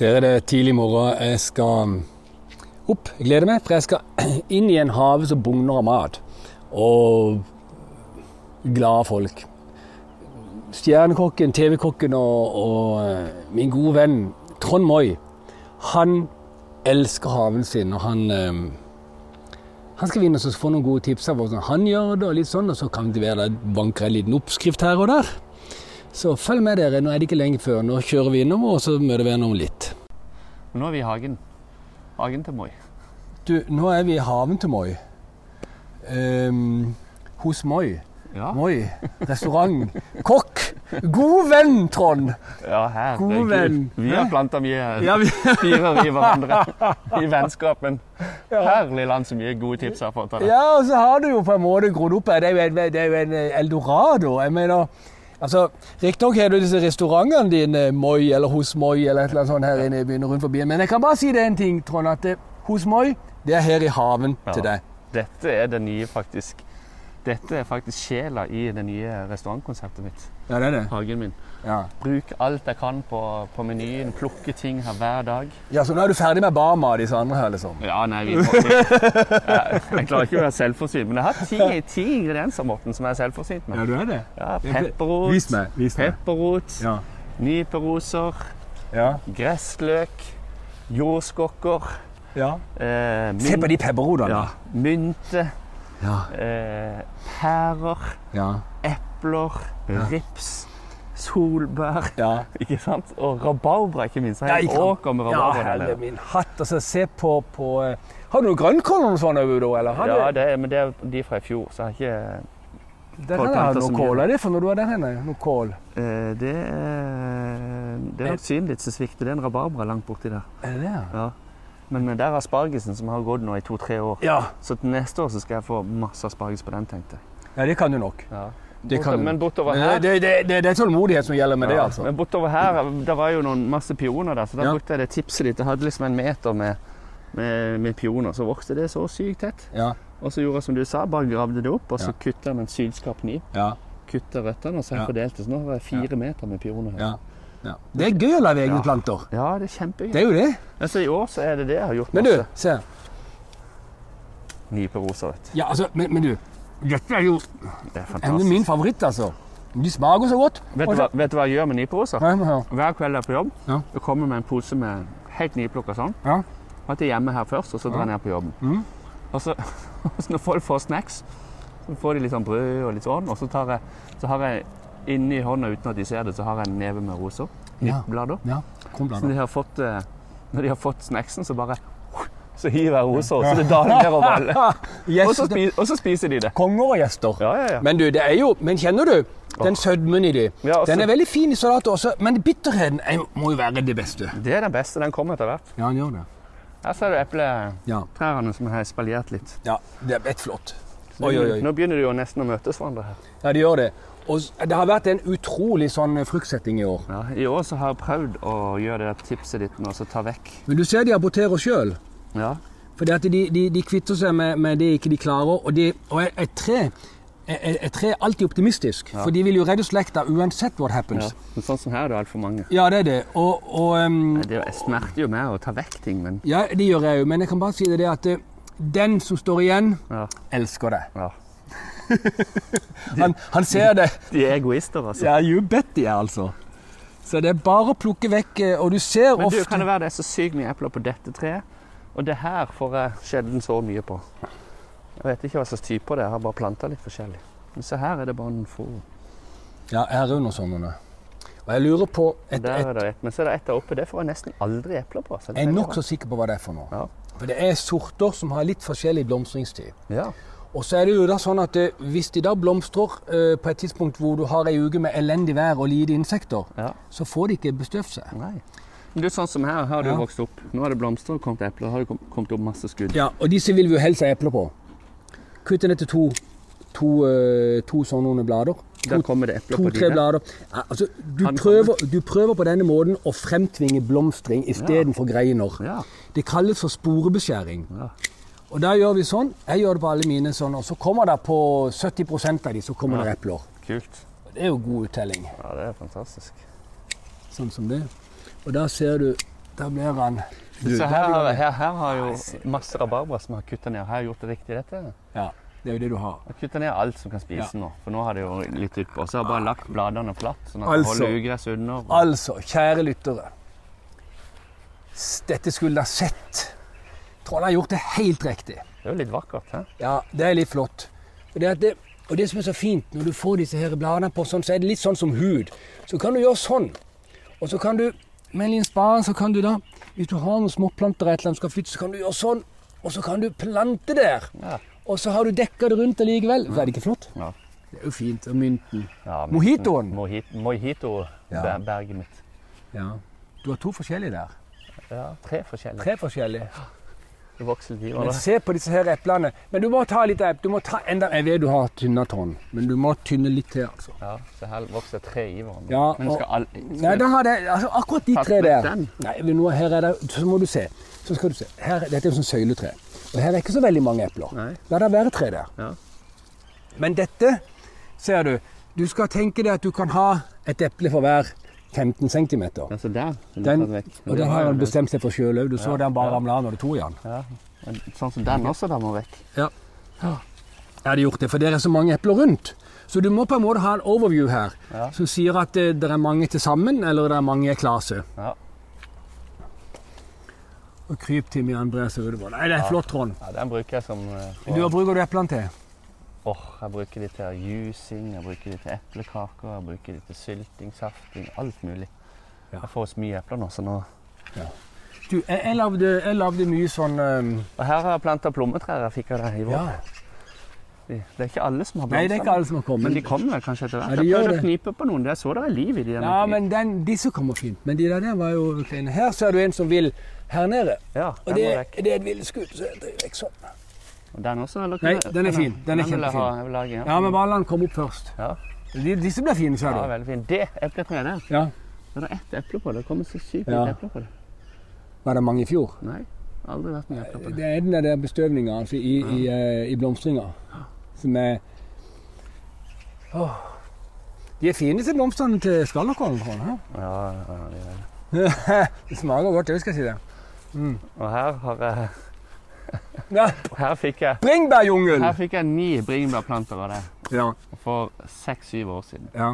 Dere, det er tidlig morgen. Jeg skal opp. Jeg gleder meg, for jeg skal inn i en hage som bugner av mat. Og glade folk. Stjernekokken, TV-kokken og, og eh, min gode venn Trond Moi, han elsker haven sin, og han eh, han skal vinne oss og få noen gode tips av hvordan han gjør det, og litt sånn, og så kan det være det vanker en liten oppskrift her og der. Så følg med dere, nå er det ikke lenge før. Nå kjører vi innom, og så møter vi henne om litt. Nå er vi i hagen. Hagen til Moi. Du, nå er vi i haven til Moi. Ehm, hos Moi. Ja. Moi, restaurant, kokk, god venn, Trond! Ja, herregud. God venn. Vi har planta mye her. Ja, vi, Firer i hverandre i vennskapen. Herlig land, så mye gode tips jeg har fått av deg. ja, og så har du jo på en måte grodd opp her. Det er jo en, det er jo en eh, eldorado. Jeg mener Altså, Riktignok har du disse restaurantene dine, Moi eller Hos Moi, eller et eller annet sånt her inne i byen og rundt forbi, men jeg kan bare si det en ting, Trond, at det, Hos Moi, det er her i haven Ja. til deg. Dette er det nye, faktisk. Dette er faktisk sjela i det nye restaurantkonseptet mitt. Ja, det er det. Hagen min. Ja. Bruk alt jeg kan på, på menyen. Plukke ting her hver dag. Ja, Så nå er du ferdig med Bama og disse andre her, liksom? Ja, nei, vi må Jeg, jeg klarer ikke å være selvforsynt, men jeg har ti, ti ingredienser Morten, som jeg er selvforsynt med. du er det. Ja, Pepperrot, Vis meg. Vis meg. pepperrot, Ja. nyperoser, Ja. Gressløk, jordskokker, ja. eh, myn- Se på de pepperrodene. ja, mynte, Ja. eh, pærer, Ja. epler, Ja. rips, solbær ja. ikke sant? Og rabarbra, ikke minst. Jeg Ja, har ikke en sant. åker med ja rabarbra. der herre nede. min hatt. Altså, se på, på eh, Har du noe grønnkål og sånn over da, eller? Har ja, du, det er, men det er de fra i fjor, så jeg har ikke der kan jeg ha planter noe som kål. gjør- Hva er det for noe du har der henne? Noe kål? eh, Det er Det er Eh. nok synet ditt som svikter. Det er en rabarbra langt borti der. Er det det? Ja. Men eh, der er aspargesen, som har gått nå i to-tre år. Ja. Så til neste år så skal jeg få masse asparges på den, tenkte jeg. ja, det kan du nok. Det kan Bortover- du. Men bortover Men her det, det, det, det, det er tålmodighet som gjelder med det, Ja, altså. Men bortover her, det var jo noen masse pioner der, så da Ja. brukte jeg det tipset ditt. Jeg hadde liksom en meter med, med, med pioner, så vokste det så sykt tett. Ja. Og så gjorde jeg som du sa, bare gravde det opp, og så Ja. kutta jeg med en sylskarp kniv. Ja. Kutta røttene, og så Ja. har jeg fordelt det. Så nå har jeg fire meter med pioner her. ja. ja. Det er gøy å lage egne Ja. planter. Ja, det er kjempegøy. Det er jo det. Altså, i år så er det det jeg har gjort Men du, masse. se. Nyperoser, vet du. Ja, altså, men, men du. Dette er jo Det er Det er fantastisk. min favoritt, altså. De smaker så godt. Vet, du hva, vet du hva jeg gjør med nyperoser? Hør, hør. Hver kveld jeg er på jobb, Ja. jeg kommer med en pose med helt nyplukka sånn. Ja. At jeg er hjemme her først, og så drar jeg ned på jobben. Mhm. Og så, så når folk får snacks, så får de litt sånn brød og litt sånn, og så, tar jeg, så har jeg inni hånda uten at de ser det, så har jeg en neve med roser. Ja. Nippblader. ja. Kom, Så når blader. de har fått, eh, når de har fått snacksen, så bare så hiver jeg roser, så det daler nedover alle. Og så, Gjester. spi, og så spiser de det. Konger og gjester. Ja, ja, ja. Men du, det er jo Men kjenner du den sødmen i de? Ja, altså- Den er veldig fin i salat også, men bitterheten er jo- må jo være det beste. Det er den beste. Den kommer etter hvert. Ja, den gjør det. Her ser du epletrærne Ja. som jeg har spaljert litt. ja det er et flott. Oi, oi, oi. Nå begynner de jo nesten å møtes hverandre her. Ja, det gjør det. Og s- det har vært en utrolig sånn fruktsetting i år. Ja, I år så har jeg prøvd å gjøre det der tipset ditt med å ta vekk. Men du ser de aborterer sjøl. Ja. Fordi at de, de, de kvitter seg med, med det ikke de klarer. Og, de, og et, et tre et, et- et tre er alltid optimistisk, for de vil jo redde slekta uansett what ja. happens. Men sånn som her er det altfor mange. Ja, det er det. Og, og ehm, Det er- jeg smerter jo mer å ta vekk ting, men Ja, det gjør jeg jo, men jeg kan bare si det det at eh, den som står igjen, ja. elsker deg. ja. Han, han ser det. De er egoister, altså. Ja, you bet de er, altså. Så det er bare å plukke vekk, eh, og du ser Men du, ofte kan det være det er så sykt mye epler på dette treet? Og det her får jeg sjelden så mye på. Jeg vet ikke hva slags typer det er, jeg har bare planta litt forskjellig. Men se her er det bare noen få. Ja, her under sånne. sånn, Og jeg lurer på et, Der er et, det et. Men så er det et der oppe. Det får jeg nesten aldri epler på. Så Jeg det er veldig nokså sikker på hva det er for noe. Ja. For det er sorter som har litt forskjellig blomstringstid. rart. Ja. Og så er det jo da sånn at eh, hvis de da blomstrer eh, på et tidspunkt hvor du har ei uke med elendig vær og lite insekter, ja. så får de ikke bestøvd seg. Nei. Men du, sånn som her, her har du Ja. vokst opp. Nå har det blomstret og kommet epler. Her har det kom- kommet opp masse skudd. Ja, og disse vil vi jo helst ha epler på. Kutte ned til to, to, eh, to sånne under blader. To, Der kommer det epler på To-tre dine. blader. Ja, Altså, du, Han prøver, du prøver på denne måten å fremtvinge blomstring istedenfor greiner. Ja. Det kalles for sporebeskjæring. Ja. Og da gjør vi sånn. Jeg gjør det på alle mine sånn, og så kommer det på 70 av de så kommer det epler. Kult. Det er jo god uttelling. Ja, det er fantastisk. Sånn som det. Og da ser du Da blir han Så her, har- her, her har jo masse rabarbra som har kutta ned. Har jeg gjort det riktig, dette? Jeg Ja, det er jo det du har. har kutta ned alt som kan spise nå. For nå har det jo litt utpå. Så har jeg bare lagt bladene flatt, sånn at det Altså. holder ugress under. Altså, kjære lyttere. S- Dette skulle dere sett. Trollet har gjort det helt riktig. Det er jo litt vakkert, hæ? Ja, det er litt flott. Og det, at det, og det som er så fint, når du får disse her bladene på sånn, så er det litt sånn som hud. Så kan du gjøre sånn. Og så kan du, med en liten spade, så kan du da, hvis du har noen småplanter eller et eller annet som skal flytte, så kan du gjøre sånn. Og så kan du plante der. Ja. Og så har du dekka det rundt allikevel. Er det ikke flott? Ja. Det er jo fint. Og mynten. Ja, men- Mojitoen. Mojit- Mojito-berget Ja. mitt. Ja. Du har to forskjellige der. Ja, tre forskjellige. Tre forskjellige. Det vokser litt i Men hverandre. se på disse her eplene. Men du må ta litt epp. Du må ta enda, jeg vet du har tynna tånn, men du må tynne litt til, altså. Ja, så her vokser tre i hverandre. Ja, Men skal all... Nei, da har det, altså, akkurat de Tatt tre vekk der. den? Nei, men nå, her er det, så må du se. Så skal du se. Her, dette er jo sånn søyletre. Og her er ikke så veldig mange epler. Nei. La det være tre der. Ja. Men dette, ser du, du skal tenke deg at du kan ha et eple for hver 15 cm. Ja, så der. er den Den, tatt vekk. og den har han bestemt seg for sjøl òg. Du så den bare ja. ramla av når du tok i den. Ja. men Sånn som den også, da må vekk. Ja. Jeg hadde gjort det, for det er så mange epler rundt. Så du må på en måte ha en overview her, Ja. som sier at det, det er mange til sammen, eller det er mange i klase. Ja. Og kryp til Mian Bre seg utover. Nei, det er Ja. flott, Trond. ja, den bruker jeg som eh, Du, Hva for- bruker du eplene til? Åh, Jeg bruker de til juicing, jeg bruker de til eplekaker, jeg bruker de til sylting, safting, alt mulig. Ja. Jeg får så mye epler nå, så nå Du, jeg, jeg, lagde, jeg lagde mye sånn ehm, Og her har jeg planta plommetrær jeg fikk av deg i vår. ja. De- Det er ikke alle som har Nei, det er ikke alle som har kommet. Men de kommer vel kanskje etter Ja, hvert? de jeg gjør prøvde det. å knipe på noen. Jeg så det er liv i de. ja, men den, disse kommer fint. Men de der, der var jo kleine. Her ser du en som vil her nede. ja, Og den det, må vekk. det er et villskudd, så jeg driver vekk sånn. Og Den også? Eller? Nei, den er fin. Den er vil jeg kjempefin. ha- jeg vil lage, Ja, men bare la den komme opp først. Ja. De, disse blir fine, ja, ser du. veldig fin. Det epletreet der. Ja. Det er ett eple på det. Det kommer så sykt Ja. mye epler på det. Var det mange i fjor? Nei, aldri vært mye epler på det. Det er den der bestøvninga altså, i, i, eh, i blomstringa som er Åh. De er fine, disse blomstene til skallerkålen. tror jeg, hæ? Ja, ja, det er det. Det smaker godt, det skal jeg si det. Mm. Og her har jeg Ja, Her fikk jeg, Bringebærjungel! her fikk jeg ni bringebærplanter av det Ja, for seks-syv år siden. ja,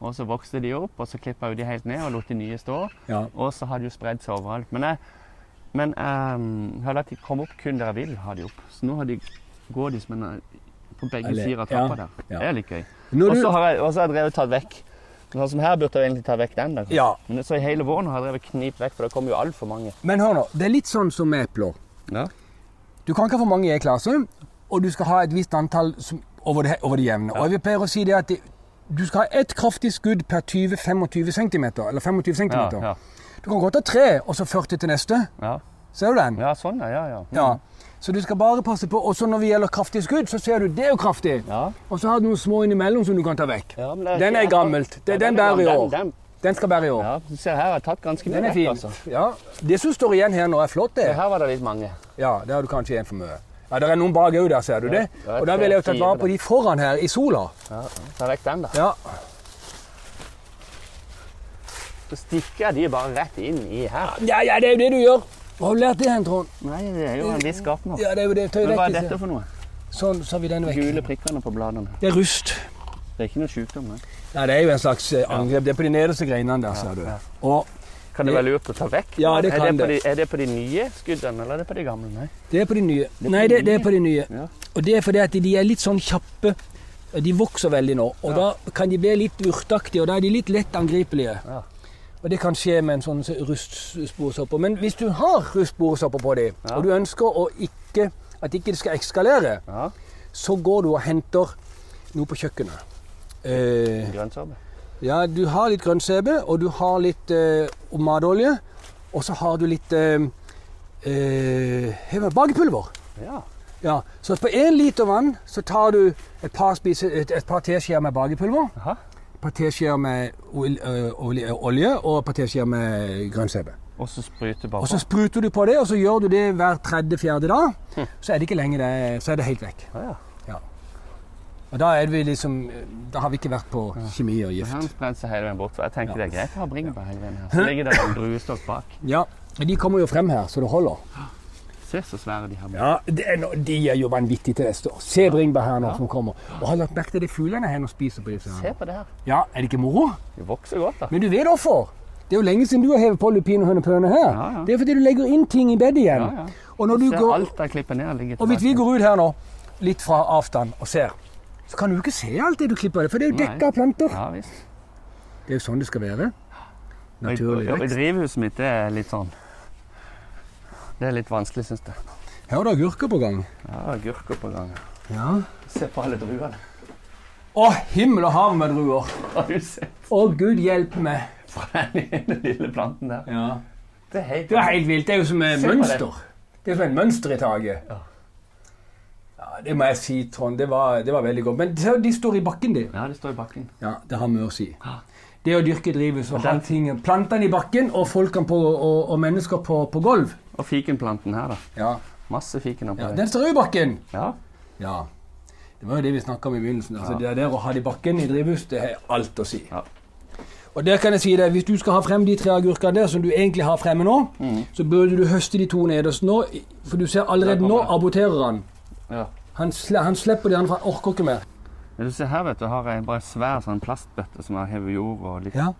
Og så vokste de opp, og så klippa jeg de helt ned og lot de nye stå. ja. Og så har de jo spredd seg overalt. Men jeg, men ehm, jeg har latt de komme opp kun der jeg vil ha de opp. Så nå har de, går de som en eh, på begge Alle- sider av ja, trappa der. ja. Det er litt gøy. Når Og du, så har jeg, og så har jeg drevet tatt vekk. Sånn som her burde jeg egentlig ta vekk den. der. ja, Men så i hele våren har jeg drevet knipt vekk, for det kommer jo altfor mange. men hør nå. Det er litt sånn som med epler. Ja. Du kan ikke ha for mange i en klasse, og du skal ha et visst antall som, over, det, over det jevne. Og vi pleier å si det at det, du skal ha ett kraftig skudd per 20-25 cm. Eller 25 cm. Ja, ja, Du kan godt ha tre, og så 40 til neste. ja. Ser du den? ja, sånn, ja. Ja. ja. Ja. Så du skal bare passe på. Også når vi gjelder kraftig skudd, så ser du det er jo kraftig. ja. Og så har du noen små innimellom som du kan ta vekk. Ja, men det Den ikke- er gammelt. Det- den bærer i den- år. den- Den skal bære i år. Ja, du ser her, jeg har tatt ganske mye Den er vekk, fin. altså. Ja. Det som står igjen her nå, er flott, det. Her var det litt mange. Ja, der har du kanskje en for mye. Ja, Det er noen bak òg der, ser du det. Ja, Og da ville jeg jo tatt vare på de foran her i sola. Ja, ta vekk den, da. Ja. Så stikker jeg de bare rett inn i her. ja, ja, det er jo det du gjør. Hvor har du lært det hen, Trond? Nei, det er jo en viss gartner. Ja, det er jo det. Tøy Men hva vekk er dette disse. for noe? Sånn, så har vi den Gule vekk. prikkene på bladene. Det er rust. Det er ikke noe sjukdom. Nei. Nei, det er jo en slags eh, angrep. Det er på de nederste greinene der, ser du. ja. Og Kan det være lurt å ta vekk? Ja, det er, kan det på de, det. er det på de nye skuddene, eller er det på de gamle? Nei. det er på de nye. Nei, det, det er på de nye. Ja. Og det er fordi at de er litt sånn kjappe. De vokser veldig nå, og da kan de bli litt urtaktige, og da er de litt lett angripelige. Ja. Og det kan skje med en sånn s- rustsporsopper. Men hvis du har rustsporsopper på dem, Ja. og du ønsker å ikke, at ikke det skal ekskalere, Ja, så går du og henter noe på kjøkkenet. Eh, grønnsåpe. ja, du har litt grønnsebe, og du har litt eh, matolje, og så har du litt eh, eh, bakepulver. Ja. Ja, så på en liter vann så tar du et par, spise, et, et par teskjeer med bakepulver, Aha. et par teskjeer med ol- ø, olje, olje og et par teskjeer med grønnsebe. Og så sprute bare Og så spruter du på det, og så gjør du det hver tredje-fjerde dag. Så er det ikke lenge det, så er det helt vekk. på. Ja, ja. Og da er vi liksom Da har vi ikke vært på kjemi og Så Han gift. spredde seg hele veien bort. for Jeg tenkte det er greit å ha bringebær hele veien her. Så ligger det en druestokk bak. Ja, Men De kommer jo frem her, så det holder. Se så svære de her blir. Ja, det er no, De er jo vanvittige til neste år. Se bringebær her nå som kommer. Og Har du lagt merke til de fuglene her og spiser på disse? her? Se på det her. Ja, Er det ikke moro? De vokser godt, da. Men du vet hvorfor. Det er jo lenge siden du har hevet på lupinhønepøene her. Ja, ja. Det er fordi du legger inn ting i bedet igjen. Ja, ja. Og når du Se går... alt jeg klipper ned, ligger Og hvis vi tilbake. går ut her nå, litt fra avstand, og ser, så kan du jo ikke se alt det du klipper av, for det er jo Nei. dekka av planter. Ja visst. Det er jo sånn det skal være. Og i- Naturlig og i vekst. Drivhuset mitt det er litt sånn Det er litt vanskelig, syns jeg. Her er det agurker på gang. Ja, agurker på gang. Ja. Se på alle druene. Å, himmel og hav med druer. Har du sett Å, Gud hjelpe meg. fra den ene lille planten der? Ja. Det er helt Det er helt vilt. Det er jo som et Se på det. mønster. Det er som et mønster i taket. Ja. Ja, det må jeg si, Trond. Det var, det var veldig godt. Men se, de står i bakken, de. Ja, de står i bakken. Ja, det har mye å si. Ja. Det å dyrke drivhus og ha den- ting, plantene i bakken og folkene på, og, og mennesker på, på gulv. Og fikenplanten her, da. Ja. Masse fiken oppå ja, der. Den står jo i bakken. Ja. Ja. Det var jo det vi snakka om i begynnelsen. Altså, Ja. Det der å ha det i bakken i drivhus, det har alt å si. Ja. Og der kan jeg si deg, Hvis du skal ha frem de tre agurkene der som du egentlig har fremme nå, så burde du høste de to nederst nå, for du ser Der allerede nå kommer det. aborterer han. ja. Han, sle, han slipper de andre, han orker ikke mer. Men du ser her, vet du, har jeg bare en svær sånn plastbøtte som har hevet jord og litt Ja.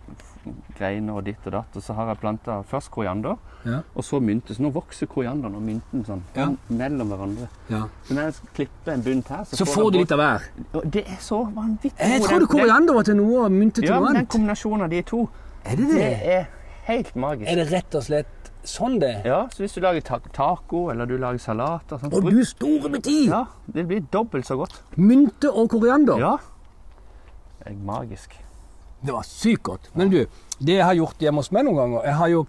greiner og ditt og datt. Og så har jeg planta først koriander, Ja. og så mynte. Så nå vokser korianderen og mynten sånn Ja. mellom hverandre. ja. Så når jeg klipper en bunt her, så, Så får du jeg litt av hver. både- Og Det er så vanvittig. Jeg god, tror den- det koriander var til noe og mynte den- til Ja, noe men den annet. kombinasjonen av de to, Er det det? det er helt magisk. Er det rett og slett sånn det er? Ja, så hvis du lager ta- taco, eller du lager salater sånn, Og bruk- du store med tid! Ja, det blir dobbelt så godt. Mynte og koriander. Ja. Det er magisk. Det var sykt godt. Men du, det jeg har gjort hjemme hos meg noen ganger Jeg har jo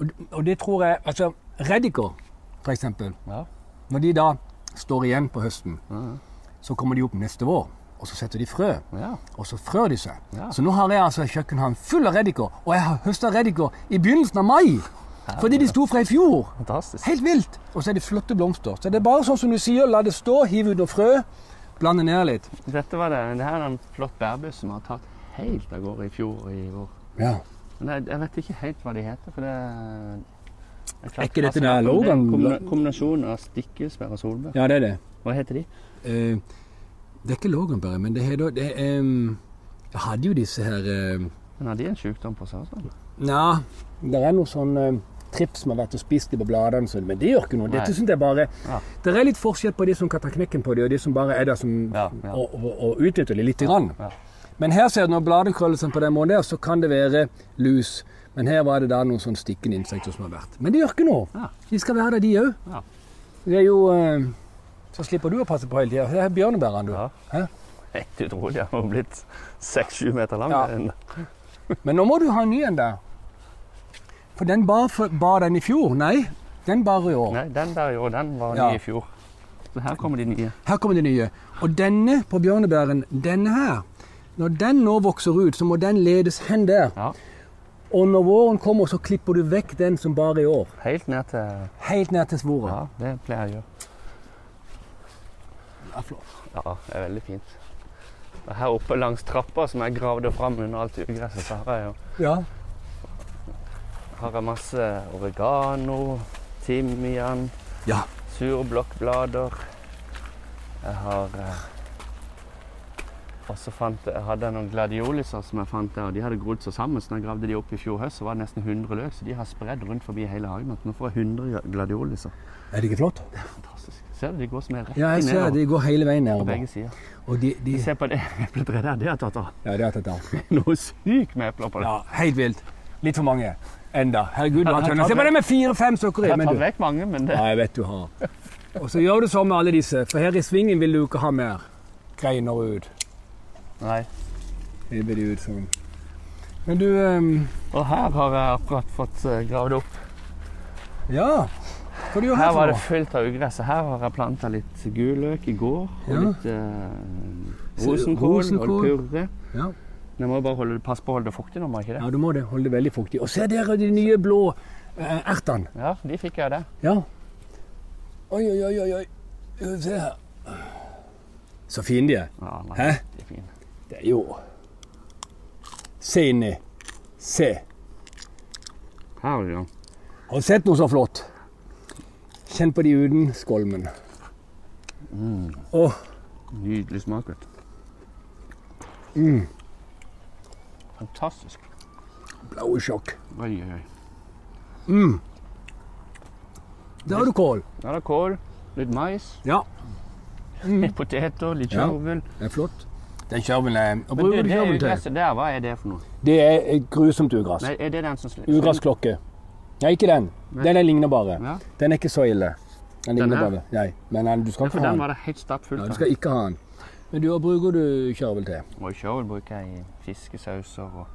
og- Og det tror jeg Altså, reddiker, for eksempel. Ja. Når de da står igjen på høsten, Mhm. så kommer de opp neste vår. Og så setter de frø. ja. Og så frør de seg. Ja. Så nå har jeg altså kjøkkenhagen full av reddiker. Og jeg har høsta reddiker i begynnelsen av mai. Fordi de sto fra i fjor. Fantastisk. Helt vilt! Og så er det flotte blomster. Så det er bare sånn som du sier, la det stå, hiv ut noen frø, blande ned litt. Dette var det. det her er en flott bærbuss som har tatt helt av gårde i fjor og i år. Ja. Men jeg, jeg vet ikke helt hva de heter, for det jeg klarte Er ikke dette å der snakke om det. Logan- Kombina- Kombinasjon av stikkelsbær og solbær. ja, det er det. Hva heter de? Eh, det er ikke Lågenberg, men det er da det er, em, Jeg hadde jo disse her eh, Men har de en sykdom på seg også? eller? Nja, det er noe sånn eh, trips som har vært og spist de på bladene, så- men det gjør ikke noe. Nei. Dette synes jeg bare Ja. Det er litt forskjell på de som kan ta knekken på de, og de som bare er der som, Ja, ja. og, og, og utnytter de lite grann. Ja. Men her ser du når bladet krøller seg på den måten der, så kan det være lus. Men her var det da noen sånn stikkende insekter som har vært. Men det gjør ikke noe. Ja. De skal være der, de òg. Ja. Det er jo eh, Så slipper du å passe på hele tida. Det er bjørnebærene, du. Ja. Hæ? Helt utrolig. Jeg har blitt seks-sju meter lang. Ja. Den- Men nå må du ha en ny en der. For den bar, for, bar den i fjor. Nei, den bar i år. Nei, den der i år, den var Ja. ny i fjor. Så her kommer de nye. Her kommer de nye. Og denne på bjørnebæren, denne her, når den nå vokser ut, så må den ledes hen der. Ja. Og når våren kommer, så klipper du vekk den som bar i år. Helt ned til Helt ned til svoret. Ja, det pleier jeg å gjøre. Ja, flott. Ja, det er veldig fint. Og her oppe langs trappa som jeg gravde fram under alt ugresset, så har jeg jo Ja. har jeg masse oregano, timian, Ja. surblokkblader. Jeg har eh, også fant, jeg hadde noen gladioliser som jeg fant der, og de hadde grodd seg sammen. Så når jeg gravde de opp i fjor høst, så var det nesten 100 løk. Så de har spredd rundt forbi hele hagen. at Nå får jeg 100 gladioliser. Er det ikke flott? Fantastisk. Ser du, de går som er rett Ja, jeg ser nedover de går hele veien på nedover. begge sider. Og de, de Se på det epletreet der. Det har tatt av Ja, det er tatt av. noe sykt med epler på det. Ja, helt vilt. Litt for mange. Enda. Herregud, hva Jeg har tønner. tatt Se på vekk- det med fire-fem stykker i. Jeg har men du. tatt vekk mange, men det Ja, jeg vet du har. Og så gjør du sånn med alle disse, for her i svingen vil du ikke ha mer greiner ut. Nei. Hiver de ut sånn. Men du ehm, Og her har jeg akkurat fått eh, gravd opp. Ja. Hva du gjør Her her var for det noe? fullt av ugress. og Her har jeg planta litt guløk i går. Og Ja. litt eh, Se, rosenkål, rosenkål. og purre. Ja. Men Jeg må bare holde, passe på å holde det fuktig nå, må jeg ikke det? ja, du må det. Holde det veldig fuktig. Og se der er de nye blå eh, ertene. Ja, de fikk jeg der. Ja. Oi, oi, oi, oi, oi. Skal vi Se her. Så fine de er. Ja, nei, Hæ? de er fine. Det er jo Se inni. Se. Her er de, ja. Har du sett noe så flott? Kjenn på de uten skolmen. Åh, Nydelig smak, vet du. Mm. Fantastisk. blaue sjokk. Oi, oi, oi. Der har du kål. Der er kål, litt mais, Ja, litt poteter, litt Mm. Ja. kjørvel. det er flott. Den kjørven er Hva Men det, bruker du det kjørven til? gresset der, hva er det for noe? Det er et grusomt ugress. Nei, er det den som slipper? Ugrassklokke. Nei, ikke den. Nei. Den er ligner bare. Ja. Den er ikke så ille. Den ligner her? bare. Nei, men den, du skal For ikke ha den. den var det helt stappfullt Ja, av. du skal ikke ha den. Men du, hva bruker du kjørvel til? Og kjøl bruker jeg i fiskesauser og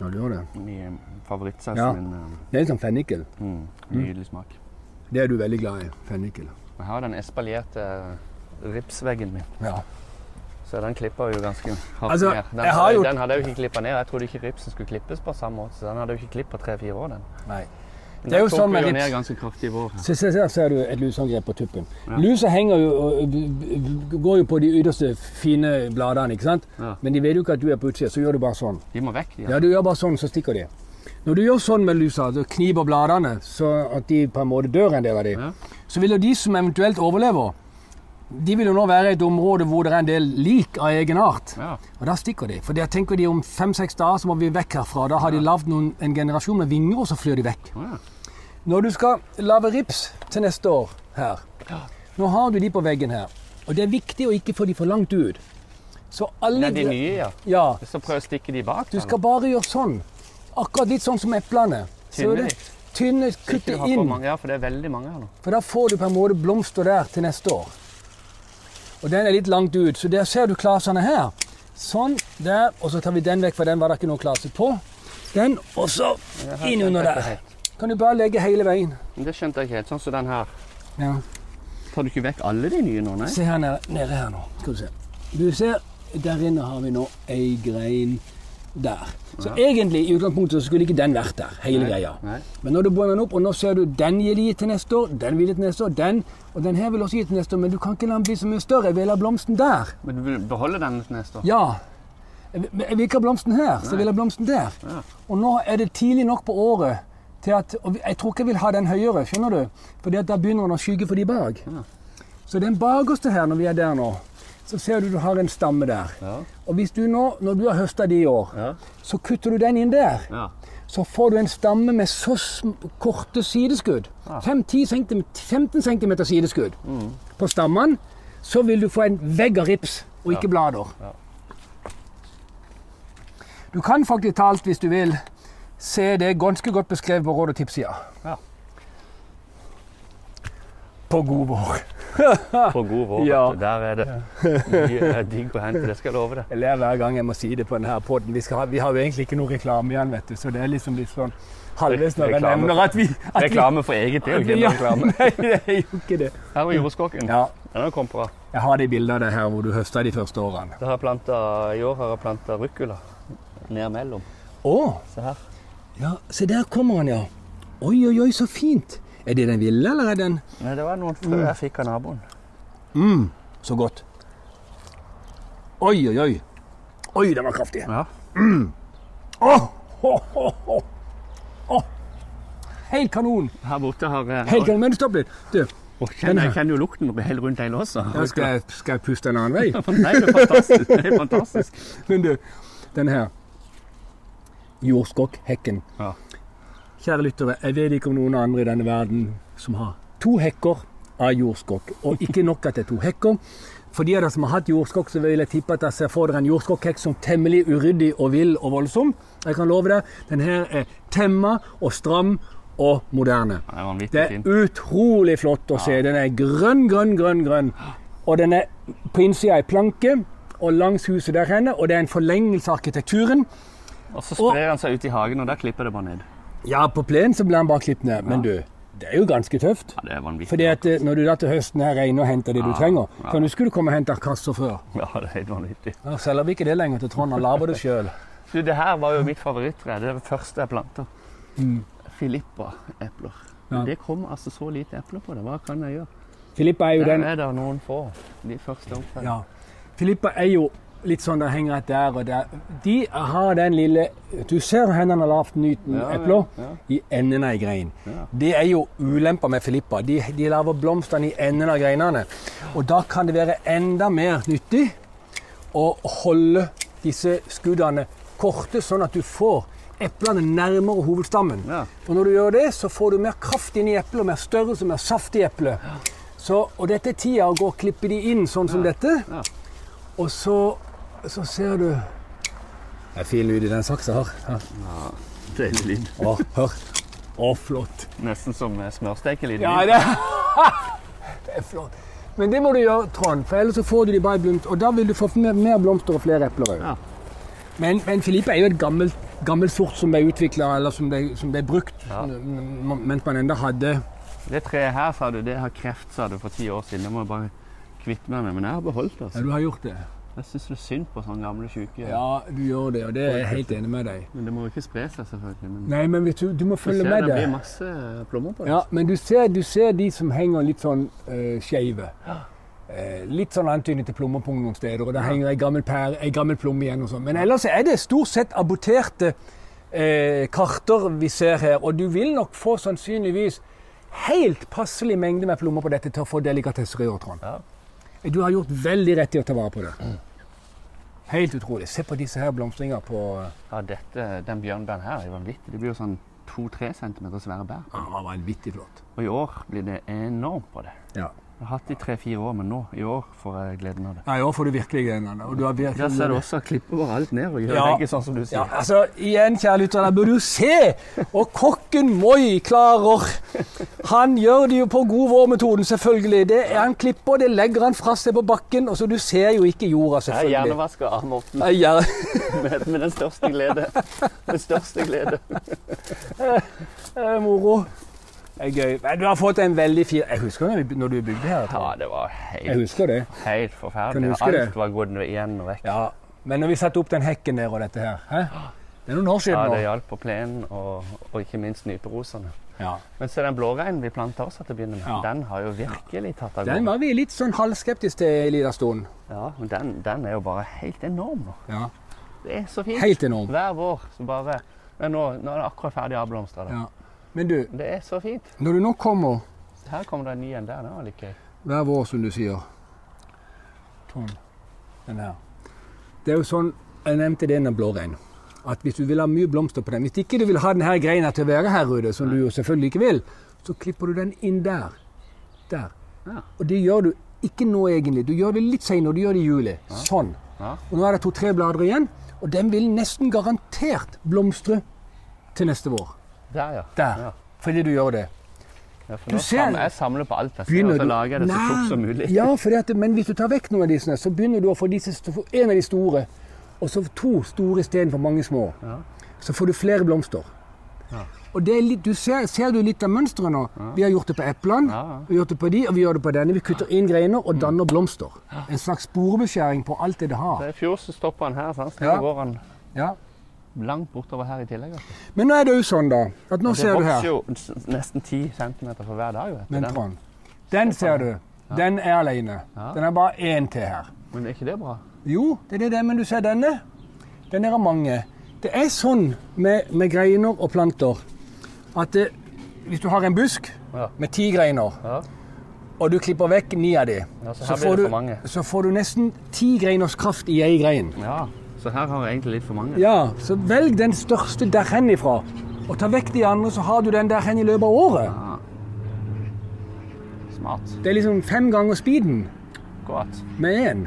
Ja, du gjør det. i favorittsausen Ja. min. eh, Det er litt sånn fennikel. Mm, nydelig smak. Det er du veldig glad i. Fennikel. Jeg har den espalierte eh, ripsveggen min, Ja. så den klipper jo ganske hardt Altså, ned. Den, jeg har gjort- den hadde jeg jo ikke klippa ned. Jeg trodde ikke ripsen skulle klippes på samme måte, så den hadde jeg jo ikke klippet på tre-fire år. den. Nei. Men Det er jo den tok sånn vi med jo rips. ned ganske kraftig i vår. Se, se, se, ser du et luseangrep på tuppen. Ja. Lusa henger jo, og- og- går jo på de ytterste fine bladene, ikke sant? Ja. Men de vet jo ikke at du er på utsida, så gjør du bare sånn. De må vekk, de. Ja, du gjør bare sånn, så stikker de. Når du gjør sånn med lusa, du kniper bladene, så at de på en måte dør en del av de, Ja. så vil jo de som eventuelt overlever, de vil jo nå være i et område hvor det er en del lik av egen art. Ja. Og da stikker de. For der tenker de om fem-seks dager så må vi vekk herfra. Da har de lagd noen- en generasjon med vinger, og så flyr de vekk. Å, ja. Når du skal lage rips til neste år her, nå har du de på veggen her. Og det er viktig å ikke få de for langt ut. Så alle Det er de nye, ja. Ja. Så prøv å stikke de bak. Du da. skal bare gjøre sånn. Akkurat litt sånn som eplene. Tynne du det? litt. Tynne, Så ikke kutte du har for inn. mange- Ja, for det er veldig mange her nå. For da får du på en måte blomster der til neste år. Og den er litt langt ut, så der ser du klasene her. Sånn, der, og så tar vi den vekk, for den var det ikke noe klase på. Den, og så inn under skjønte jeg der. Kan du bare legge hele veien. Men det skjønte jeg ikke helt. Sånn som den her. Ja. Tar du ikke vekk alle de nye nå, nei? Se her nede, nede her nå. Skal du se. Du ser, der inne har vi nå ei grein der. Så egentlig, i utgangspunktet, så skulle ikke den vært der, hele greia. Nei. Men når du blander den opp, og nå ser du den gir de til neste år, den vil de til neste år, den, og den her vil også gi til neste år, men du kan ikke la den bli så mye større. Jeg vil ha blomsten der. Men du vil beholde den til neste år? Ja. Jeg vil- jeg vil ikke ha blomsten her, så jeg vil ha blomsten der. Ja. Og nå er det tidlig nok på året til at og Jeg tror ikke jeg vil ha den høyere, skjønner du? Fordi at da begynner den å skygge for de bak. Ja. Så den bakerste her, når vi er der nå, så ser du du har en stamme der. Ja. Og hvis du nå, når du har høsta de i år, Ja. så kutter du den inn der. ja. så får du en stamme med så sm- korte sideskudd. 5-10 cm, 15 cm sideskudd på stammen. Så vil du få en vegg av rips, og ikke blader. Ja. Du kan faktisk talt, hvis du vil, se det ganske godt beskrevet på Råd og tips-sida. Ja. På god vår. På god vår. Ja. vet du. Der er det mye eh, digg å hente, det skal jeg love deg. Jeg ler hver gang jeg må si det på denne podden. Vi, skal ha, vi har jo egentlig ikke noe reklame igjen, vet du, så det er liksom litt sånn halvveis når jeg Reklame. nevner at vi at vi- Reklame for eget, det er jo ikke Ja, noe reklame. Nei, det er jo ikke det. Her var jordskokken. Ja, Den har kommet bra. Jeg har de bildene av deg her hvor du høsta de første årene. Det har jeg planta, I år har jeg planta ruccola ned mellom. Å, Se her. ja, se der kommer han, ja. Oi, oi, oi, så fint. Er det den ville, eller er den Nei, det var noen frø jeg fikk av naboen. mm, så godt? Oi, oi, oi. Oi, den var kraftig. Ja. Åh, ho, ho, ho. Åh. Helt kanon. Her borte har eh, jeg Helt kanon. Men stopp litt. Du, Å, kjenner, Jeg kjenner jo lukten helt rundt hele også. nå skal jeg, skal jeg puste en annen vei? Nei, det er fantastisk. Det er fantastisk. Men du, denne her. Jordskokkhekken. Ja. Kjære lyttere, jeg vet ikke om noen andre i denne verden som har to hekker av jordskokk. Og ikke nok at det er to hekker. For de av dere som har hatt jordskokk, så vil jeg tippe at dere ser for dere en jordskokkhekk som temmelig uryddig og vill og voldsom. Jeg kan love deg, den her er temma og stram og moderne. Det er vanvittig Det er fint. utrolig flott å se. Den er grønn, grønn, grønn, grønn. Og den er på innsida i planke og langs huset der henne, og det er en forlengelse av arkitekturen. Og så sprer han seg ut i hagen, og der klipper det bare ned. Ja, på plenen så blir den bare klippet ned, men du, det er jo ganske tøft. Ja, det er vanvittig. Fordi at eh, når du da til høsten her er inne og henter det du Ja, trenger, ja. for nå skulle du komme og hente kasser før. Ja, det er helt vanvittig. Nå selger vi ikke det lenger til Trond, han lager det sjøl. Du, det her var jo mitt favorittre. Det er det første jeg planta. Mm. Filippa-epler. Ja. Men Det kom altså så lite epler på det. Hva kan jeg gjøre? Filippa er jo Der den er det noen få. De første oppfødte. ja. Filippa er jo litt sånn der henger et der og der. De har den lille Du ser hvor hendene har lavt nyten epler. Ja, I enden av ei grein. ja. Det er jo ulempa med filippa. De, de lager blomstene i enden av greinene. Og da kan det være enda mer nyttig å holde disse skuddene korte, sånn at du får eplene nærmere hovedstammen. Ja. For når du gjør det, så får du mer kraft inn i eplet, og mer størrelse, mer saft i eplet. Så, og dette er tida å gå og klippe de inn sånn som dette. Ja. Og så, så ser du Det er fin lyd i den saksa her. Her. Deilig lyd. Å, hør. Å, flott. Nesten som eh, smørstekelyd. Ja, det, det er flott. Men det må du gjøre, Trond, for ellers så får du de bare i blomst, og da vil du få mer, mer blomster og flere epler òg. Ja. Men, men Filippe er jo et gammelt, gammelt sort som ble utvikla, eller som ble, som ble brukt Ja. m- m- mens man enda hadde Det treet her, sa du, det har kreft, sa du, for ti år siden. Det må jeg bare kvitte meg med. Men jeg har beholdt det. Ja, altså. du har gjort det. Jeg syns det er synd på sånne gamle syke. Ja, du gjør det, og det er jeg helt enig med deg. Men det må jo ikke spre seg, selvfølgelig. Men Nei, men vet du, du må du følge ser med det det. blir masse eh, plommer på det. Ja, men du ser, du ser de som henger litt sånn uh, skeive. Eh, litt sånn antydning til plommer på noen steder, og der henger ei gammel pære, ei gammel plomme igjen og sånn. Men ellers er det stort sett aborterte eh, karter vi ser her, og du vil nok få sannsynligvis helt passelig mengde med plommer på dette til å få delikatesser i år, Trond. Ja. Du har gjort veldig rett i å ta vare på det. Helt utrolig. Se på disse her blomstringene på eh, Ja, dette, den bjørnbæren her er jo vanvittig. Det blir jo sånn to-tre centimeter svære bær. Ja, det var vanvittig flott. Og i år blir det enormt på det. Ja. Jeg har hatt det i tre-fire år, men nå, i år, får jeg gleden av det. ja, i år får du virkelig gleden av det. Og du har virkelig Der ser du også klipper overalt ned og gjør Ja. begge sånn som du Ja, sier. altså, igjen, kjære lyttere, der burde du se! Og kokken Moi klarer Han gjør det jo på god vår-metoden, selvfølgelig. Det er Han klipper, det legger han fra seg på bakken, og så du ser jo ikke jorda, Jeg selvfølgelig. hjernevasker av Morten Jeg gjerne- med, med den største glede. Den største glede. Det er moro. Det er gøy. Men du har fått en veldig fin Jeg husker når, vi, når du bygde her. Ja, Trond. det var Jeg helt, husker det. helt Kan du forferdelig. huske det? Alt var gått igjen og vekk. Ja. Men når vi satte opp den hekken der og dette her hæ? Det er noen år Ja, siden det nå. hjalp på plenen og, og ikke minst nyperosene. Ja. Men så den blåreinen vi planta også til å begynne med, Ja. den har jo virkelig tatt av Den gårde. var vi litt sånn halvskeptiske til en liten stund. Ja, men den, den er jo bare helt enorm nå. Ja. Det er så fint. Helt enorm. Hver vår så bare Nei, nå, nå er det akkurat ferdig avblomstra. Ja. Men du, Det er så fint. når du nå kommer Her kommer det en ny en der. Den var litt gøy. hver vår, som du sier. Tom, Sånn. den her. Det er jo sånn, jeg nevnte det med blårein, at hvis du vil ha mye blomster på den, hvis ikke du vil ha denne greina til å være her ute, som du jo selvfølgelig ikke vil, så klipper du den inn der. Der. Ja. Og det gjør du ikke nå egentlig, du gjør det litt senere, du gjør det i juli. Sånn. Ja. Og nå er det to-tre blader igjen, og den vil nesten garantert blomstre til neste vår. Der, ja. Der. Ja. Fordi du gjør det. Ja, for Du nå ser- samler, jeg samler på alt jeg ser, begynner og så du- lager jeg det så Nei, tjukt som mulig. Ja, fordi at, men hvis du tar vekk noen av disse, så begynner du å få disse, st- få en av de store, og så to store istedenfor mange små. Ja. Så får du flere blomster. Ja. Og det er litt, du ser, ser du litt av mønsteret nå? Vi har gjort det på eplene, Ja, Mm. ja. vi har gjort det på de, og vi gjør det på denne. Vi kutter inn greiner og danner blomster. En slags sporebeskjæring på alt det det Så har. I fjor så stoppa han her, sant? så Ja. nå går han Ja. langt bortover her i tillegg. altså. Men nå er det jo sånn, da, at nå Det ser du vokser her. jo s- nesten 10 cm for hver dag. Vet du. Men Den- Trond, den ser du. Den er alene. Ja. Den er bare én til her. Men er ikke det bra? Jo, det er det, men du ser denne. Den er av mange. Det er sånn med, med greiner og planter at det, hvis du har en busk Ja. med ti greiner, Ja. og du klipper vekk ni av de, Ja, så her blir får det du, for mange. så får du nesten ti greiners kraft i ei grein. ja. Så her har jeg egentlig litt for mange. Ja, så velg den største der hen ifra. Og ta vekk de andre, så har du den der hen i løpet av året. Ah. Smart. Det er liksom fem ganger speeden Godt. med én.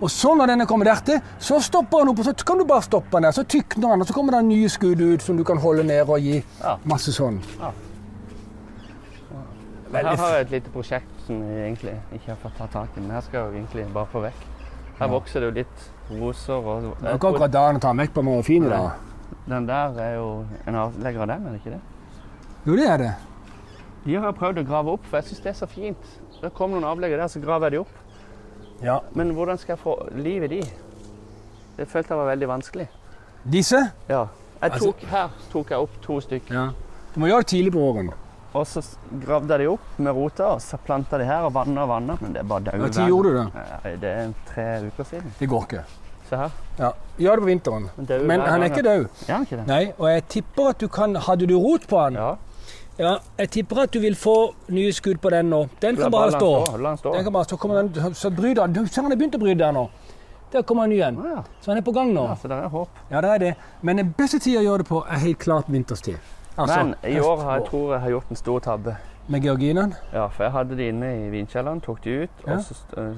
Og så når denne kommer dertil, så stopper den opp, og så kan du bare stoppe den der. Så tykner den, og så kommer det nye skudd ut som du kan holde ned og gi Ja. masse sånn. Her har jeg et lite prosjekt som jeg egentlig ikke har fått ta tak i, men her skal jeg jo egentlig bare få vekk. Her vokser det jo litt roser og Det er ikke akkurat da den tar vekk på noe fint i dag. Den der er jo en avlegger av den, er det ikke det? Jo, det er det. De har jeg prøvd å grave opp, for jeg syns det er så fint. Det kom noen avleggere der, så graver jeg de opp. Ja. Men hvordan skal jeg få liv i de? Det følte jeg var veldig vanskelig. Disse? Ja. Jeg Altså- tok, her tok jeg opp to stykk. Du må gjøre det tidlig på våren. Og så s- gravde de opp med rota, og så planta de her og vanna og vanna. Men det er bare daue Når gjorde du det? Nei, Det er tre uker siden. Det går ikke. Se her. Ja, Gjør det på vinteren. Men, daue Men hver han er gang. ikke død. Er han ikke det? Nei, og jeg tipper at du kan Hadde du rot på han? Ja. Ja, jeg tipper at du vil få nye skudd på den nå. Den La- kan bare la han stå. La han stå. Den kan bare stå. Kommer den, så bryter han. Du ser han har begynt å bryte der nå. Der kommer han ny igjen. Ja, Så han er på gang nå. ja, så der er håp. Ja, det er det. Men den beste tida å gjøre det på er helt klart vinterstid. Altså, Men i år har jeg høst- tror jeg har gjort en stor tabbe. Med georginaen? Ja, for jeg hadde de inne i vinkjelleren, tok de ut, Ja. og så, st- øh,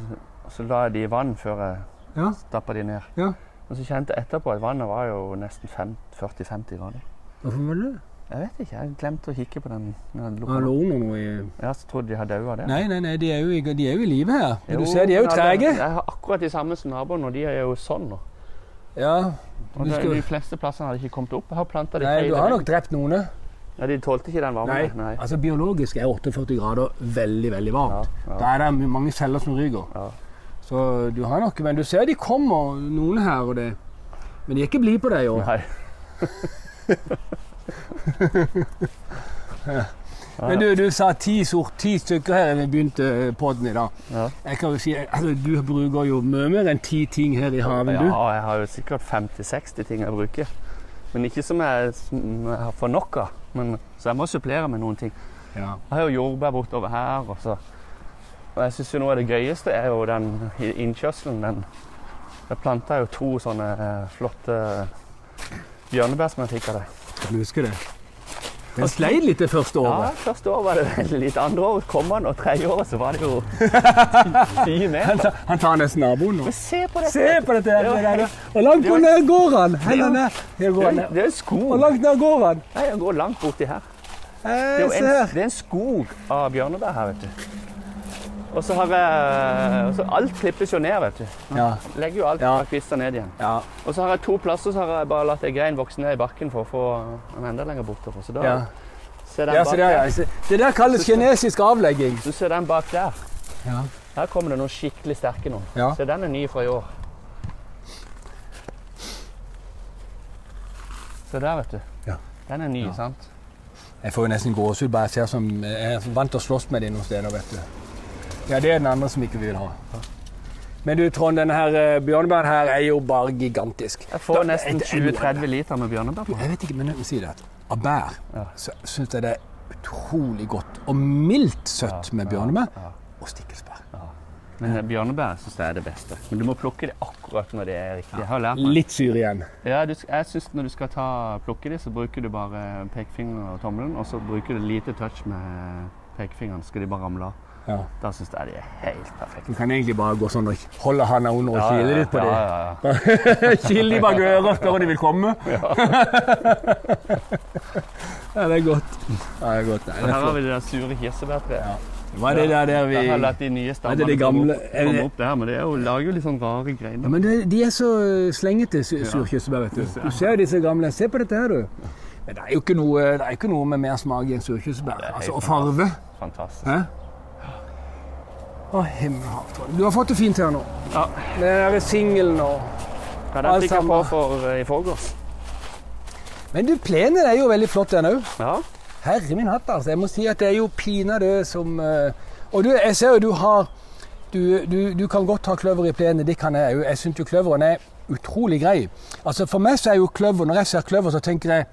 så la jeg de i vann før jeg Ja. stappa de ned. Ja. Og så kjente jeg etterpå at vannet var jo nesten fem- 40-50 grader. Hvorfor var det det? Jeg vet ikke, jeg glemte å kikke på den. når jeg lukket Han den. lå under noe i Ja, så trodde de hadde daua der. Nei, nei, nei, de er jo i, de er jo i live her. Men Jo, du ser, de er jo men trege. alle- Jeg har akkurat de samme som naboene, og de er jo sånn nå. Ja. Og Du det, skal, De fleste plassene hadde ikke kommet opp. Jeg har planta de nei, feil du har vei. nok drept noen. eh? Ja, de tålte ikke den varmen. Nei. Nei. Altså, biologisk er 48 grader veldig, veldig Ja, varmt. ja. Da er det mange celler som ryker. Ja. Så du har nok, men du ser de kommer, noen her, og det Men de er ikke blide på deg i år. Nei. Men du, du sa ti, sort, ti stykker her da vi begynte eh, podden i dag. Ja. Jeg kan jo si, altså, Du bruker jo mye mer enn ti ting her i haven, du. Ja, jeg har jo sikkert 50-60 ting jeg bruker. Men ikke som jeg, som jeg har for nok av. Men, så jeg må supplere med noen ting. Ja. Jeg har jo jordbær bortover her. Og, så. og jeg syns jo noe av det gøyeste er jo den i- innkjørselen. Den Jeg planta jo to sånne eh, flotte bjørnebær som jeg fikk av deg. Kan du huske det? Den sleit litt det første Altså, Ja, året. første år var det veldig litt. Andre år kom han, og tredje året så var det jo ti Han, meter. tar, han tar nesten naboen nå. Men se på dette! Se på dette! her, Det var det der. Hvor langt ned går han? Hen er ned. Her går Det han er- ned. det er jo skog. Hvor langt ned går han? Nei, jeg går langt borti her. Det er, Hei, jo se en, her. det er en skog av bjørnebær her, vet du. Og så har jeg og så Alt klippes jo ned, vet du. Ja. Legger jo alt Ja. fra kvister ned igjen. ja. Og så har jeg to plasser så har jeg bare latt ei grein vokse ned i bakken for å få den enda lenger bortover. Så da ja. ser den Ja, bak se der, der. ja. Se- Det der kalles kinesisk avlegging. Du ser den bak der. Ja. Her kommer det noen skikkelig sterke nå. Ja. Se, den er ny fra i år. Se der, vet du. Ja. Den er ny, Ja. sant? Jeg får jo nesten gåsehud bare jeg ser som eh, Jeg er vant til å slåss med de noen steder, vet du. Ja, det er den andre som ikke vi vil ha. Men du, Trond, denne her eh, bjørnebæren her er jo bare gigantisk. Jeg får Da- nesten et- et- 20-30 liter med bjørnebær på. Jeg vet ikke, men jeg vil si det at av bær Ja. så syns jeg det er utrolig godt og mildt søtt med bjørnebær og stikkelsbær. Men eh, bjørnebær syns jeg er det beste. Men du må plukke det akkurat når det er riktig. Jeg har lært meg. Litt syre igjen. Ja, du, jeg synes når du skal ta, plukke det, så bruker du bare pekefingeren og tommelen, og så bruker du lite touch med pekefingeren, så skal de bare ramle av. Ja. Da syns jeg de er helt perfekte. Du kan egentlig bare gå sånn og holde handa under og Ja, kile ja, litt på ja, det. ja, ja. Kile de bak øret og spør om de vil komme. Ja. det er godt. Ja, det er godt. Nei, det Her er har flott. vi det der sure kirsebærtreet. Ja. Hva er det der, der vi Jeg har latt de nye Er det stammene de gamle- komme, er opp, komme det- opp der, men det er jo, lager jo litt sånn rare ja, greiner. men det, De er så eh, slengete, su- surkirsebær. vet Du Du ser jo disse gamle. Se på dette her, du. Men det er jo ikke noe, det er ikke noe med mer smak i enn surkirsebær. er helt Altså, og farve. Fantastisk. Hæ? Å, himmel og hav, Trond. Du har fått det fint her nå. Ja. Med den derre singelen og Ja, den fikk jeg på Alzheimer. for eh, i forgårs. Men du, plenen er jo veldig flott, den òg. Ja. Herre min hatt, altså. Jeg må si at det er jo pinadø som eh, Og du, jeg ser jo du har du, du, du kan godt ha kløver i plenen, det kan jeg òg. Jeg syns jo kløveren er utrolig grei. Altså For meg så er jo kløver Når jeg ser kløver, så tenker jeg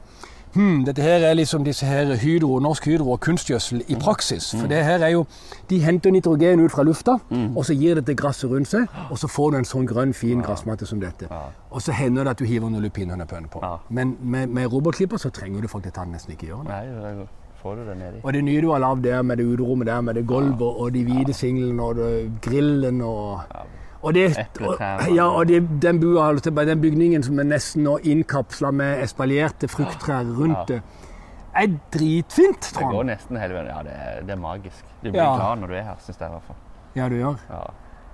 Hm, dette her er liksom disse her Hydro, Norsk Hydro og kunstgjødsel i praksis. For det her er jo De henter nitrogen ut fra lufta, og så gir det til gresset rundt seg. Og så får du en sånn grønn, fin gressmatte som dette. Og så hender det at du hiver noen lupinhønnepønner på. Ja. Men med, med robotklipper så trenger du faktisk at han nesten ikke gjør det. Nei, da får du det nedi. Og det nye du har lagd der med det uterommet der med det gulvet og de hvite singlene og det, grillen og og, det, og, Epletræene. ja, og det, den, bua, holdt jeg på- den bygningen som er nesten nå innkapsla med espalierte frukttrær rundt Ja. det, er dritfint, Det går Trond. nesten hele veien. Ja, det er, det er magisk. Du blir Ja. glad når du er her, syns jeg i hvert fall. Ja, du gjør. Ja.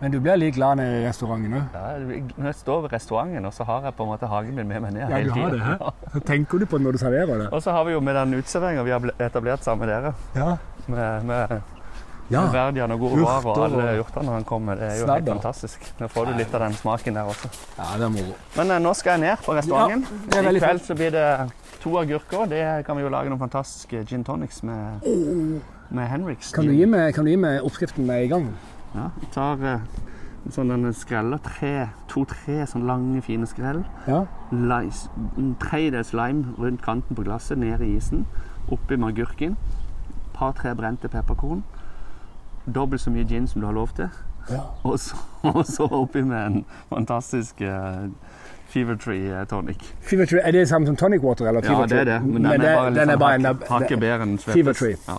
Men du blir like glad nede i restauranten òg. Ja, jeg blir- når jeg står ved restauranten, og så har jeg på en måte hagen min med meg ned Ja, du hele har det, hæ? tiden. Ja. Så tenker du på det når du serverer det. Og så har vi jo med den uteserveringa vi har ble- etablert sammen med dere, Ja. med, med Ja. Verdiene og gorovar og Urter alle og- hjortene han kom med. Det er jo helt Snadder. fantastisk. Nå får du litt av den smaken der også. ja, det er moro. Men eh, nå skal jeg ned på restauranten. det er I veldig kveld så blir det to agurker. Det kan vi jo lage noen fantastiske gin tonics med, med Henriks. Kan du gi meg, kan du gi meg oppskriften med en gang? Ja, jeg tar eh, en sånn en skrell og tre, to-tre sånn lange, fine skrell. Ja. Li- s- En tredjedel slime rundt kanten på glasset, ned i isen. Oppi med agurken. Par-tre brente pepperkorn. Dobbelt så mye gin som du har lov til. Ja. Og så, og så oppi med en fantastisk eh, Fever Tree eh, tonic. Fever Tree, er det samme som tonic water? Eller Ja, Fever det er Tree? det. Men den er bare, sånn den er bare enda hakket, hakket bedre enn Sveppes. Fever Tree. Ja.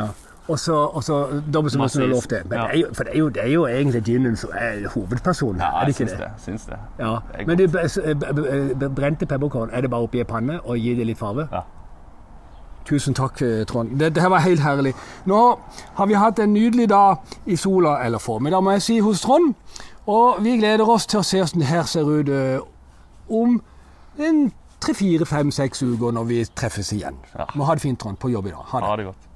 Ja. Og så og så dobbelt så mye som du har lov til. Men Ja. det er jo, for det er jo, det er jo egentlig ginen som er hovedpersonen. ja, er det jeg ikke syns det? det. Syns det. Ja. er Men det, b- b- brente pepperkorn, er det bare oppi en panne og gi det litt farve? Ja. Tusen takk, eh, Trond. Det, det her var helt herlig. Nå har vi hatt en nydelig dag i sola, eller formiddag, må jeg si, hos Trond. Og vi gleder oss til å se hvordan det her ser ut eh, om en tre, fire, fem, seks uker når vi treffes igjen. Ja. Må ha det fint, Trond, på jobb i dag. Ha det. Ha det godt.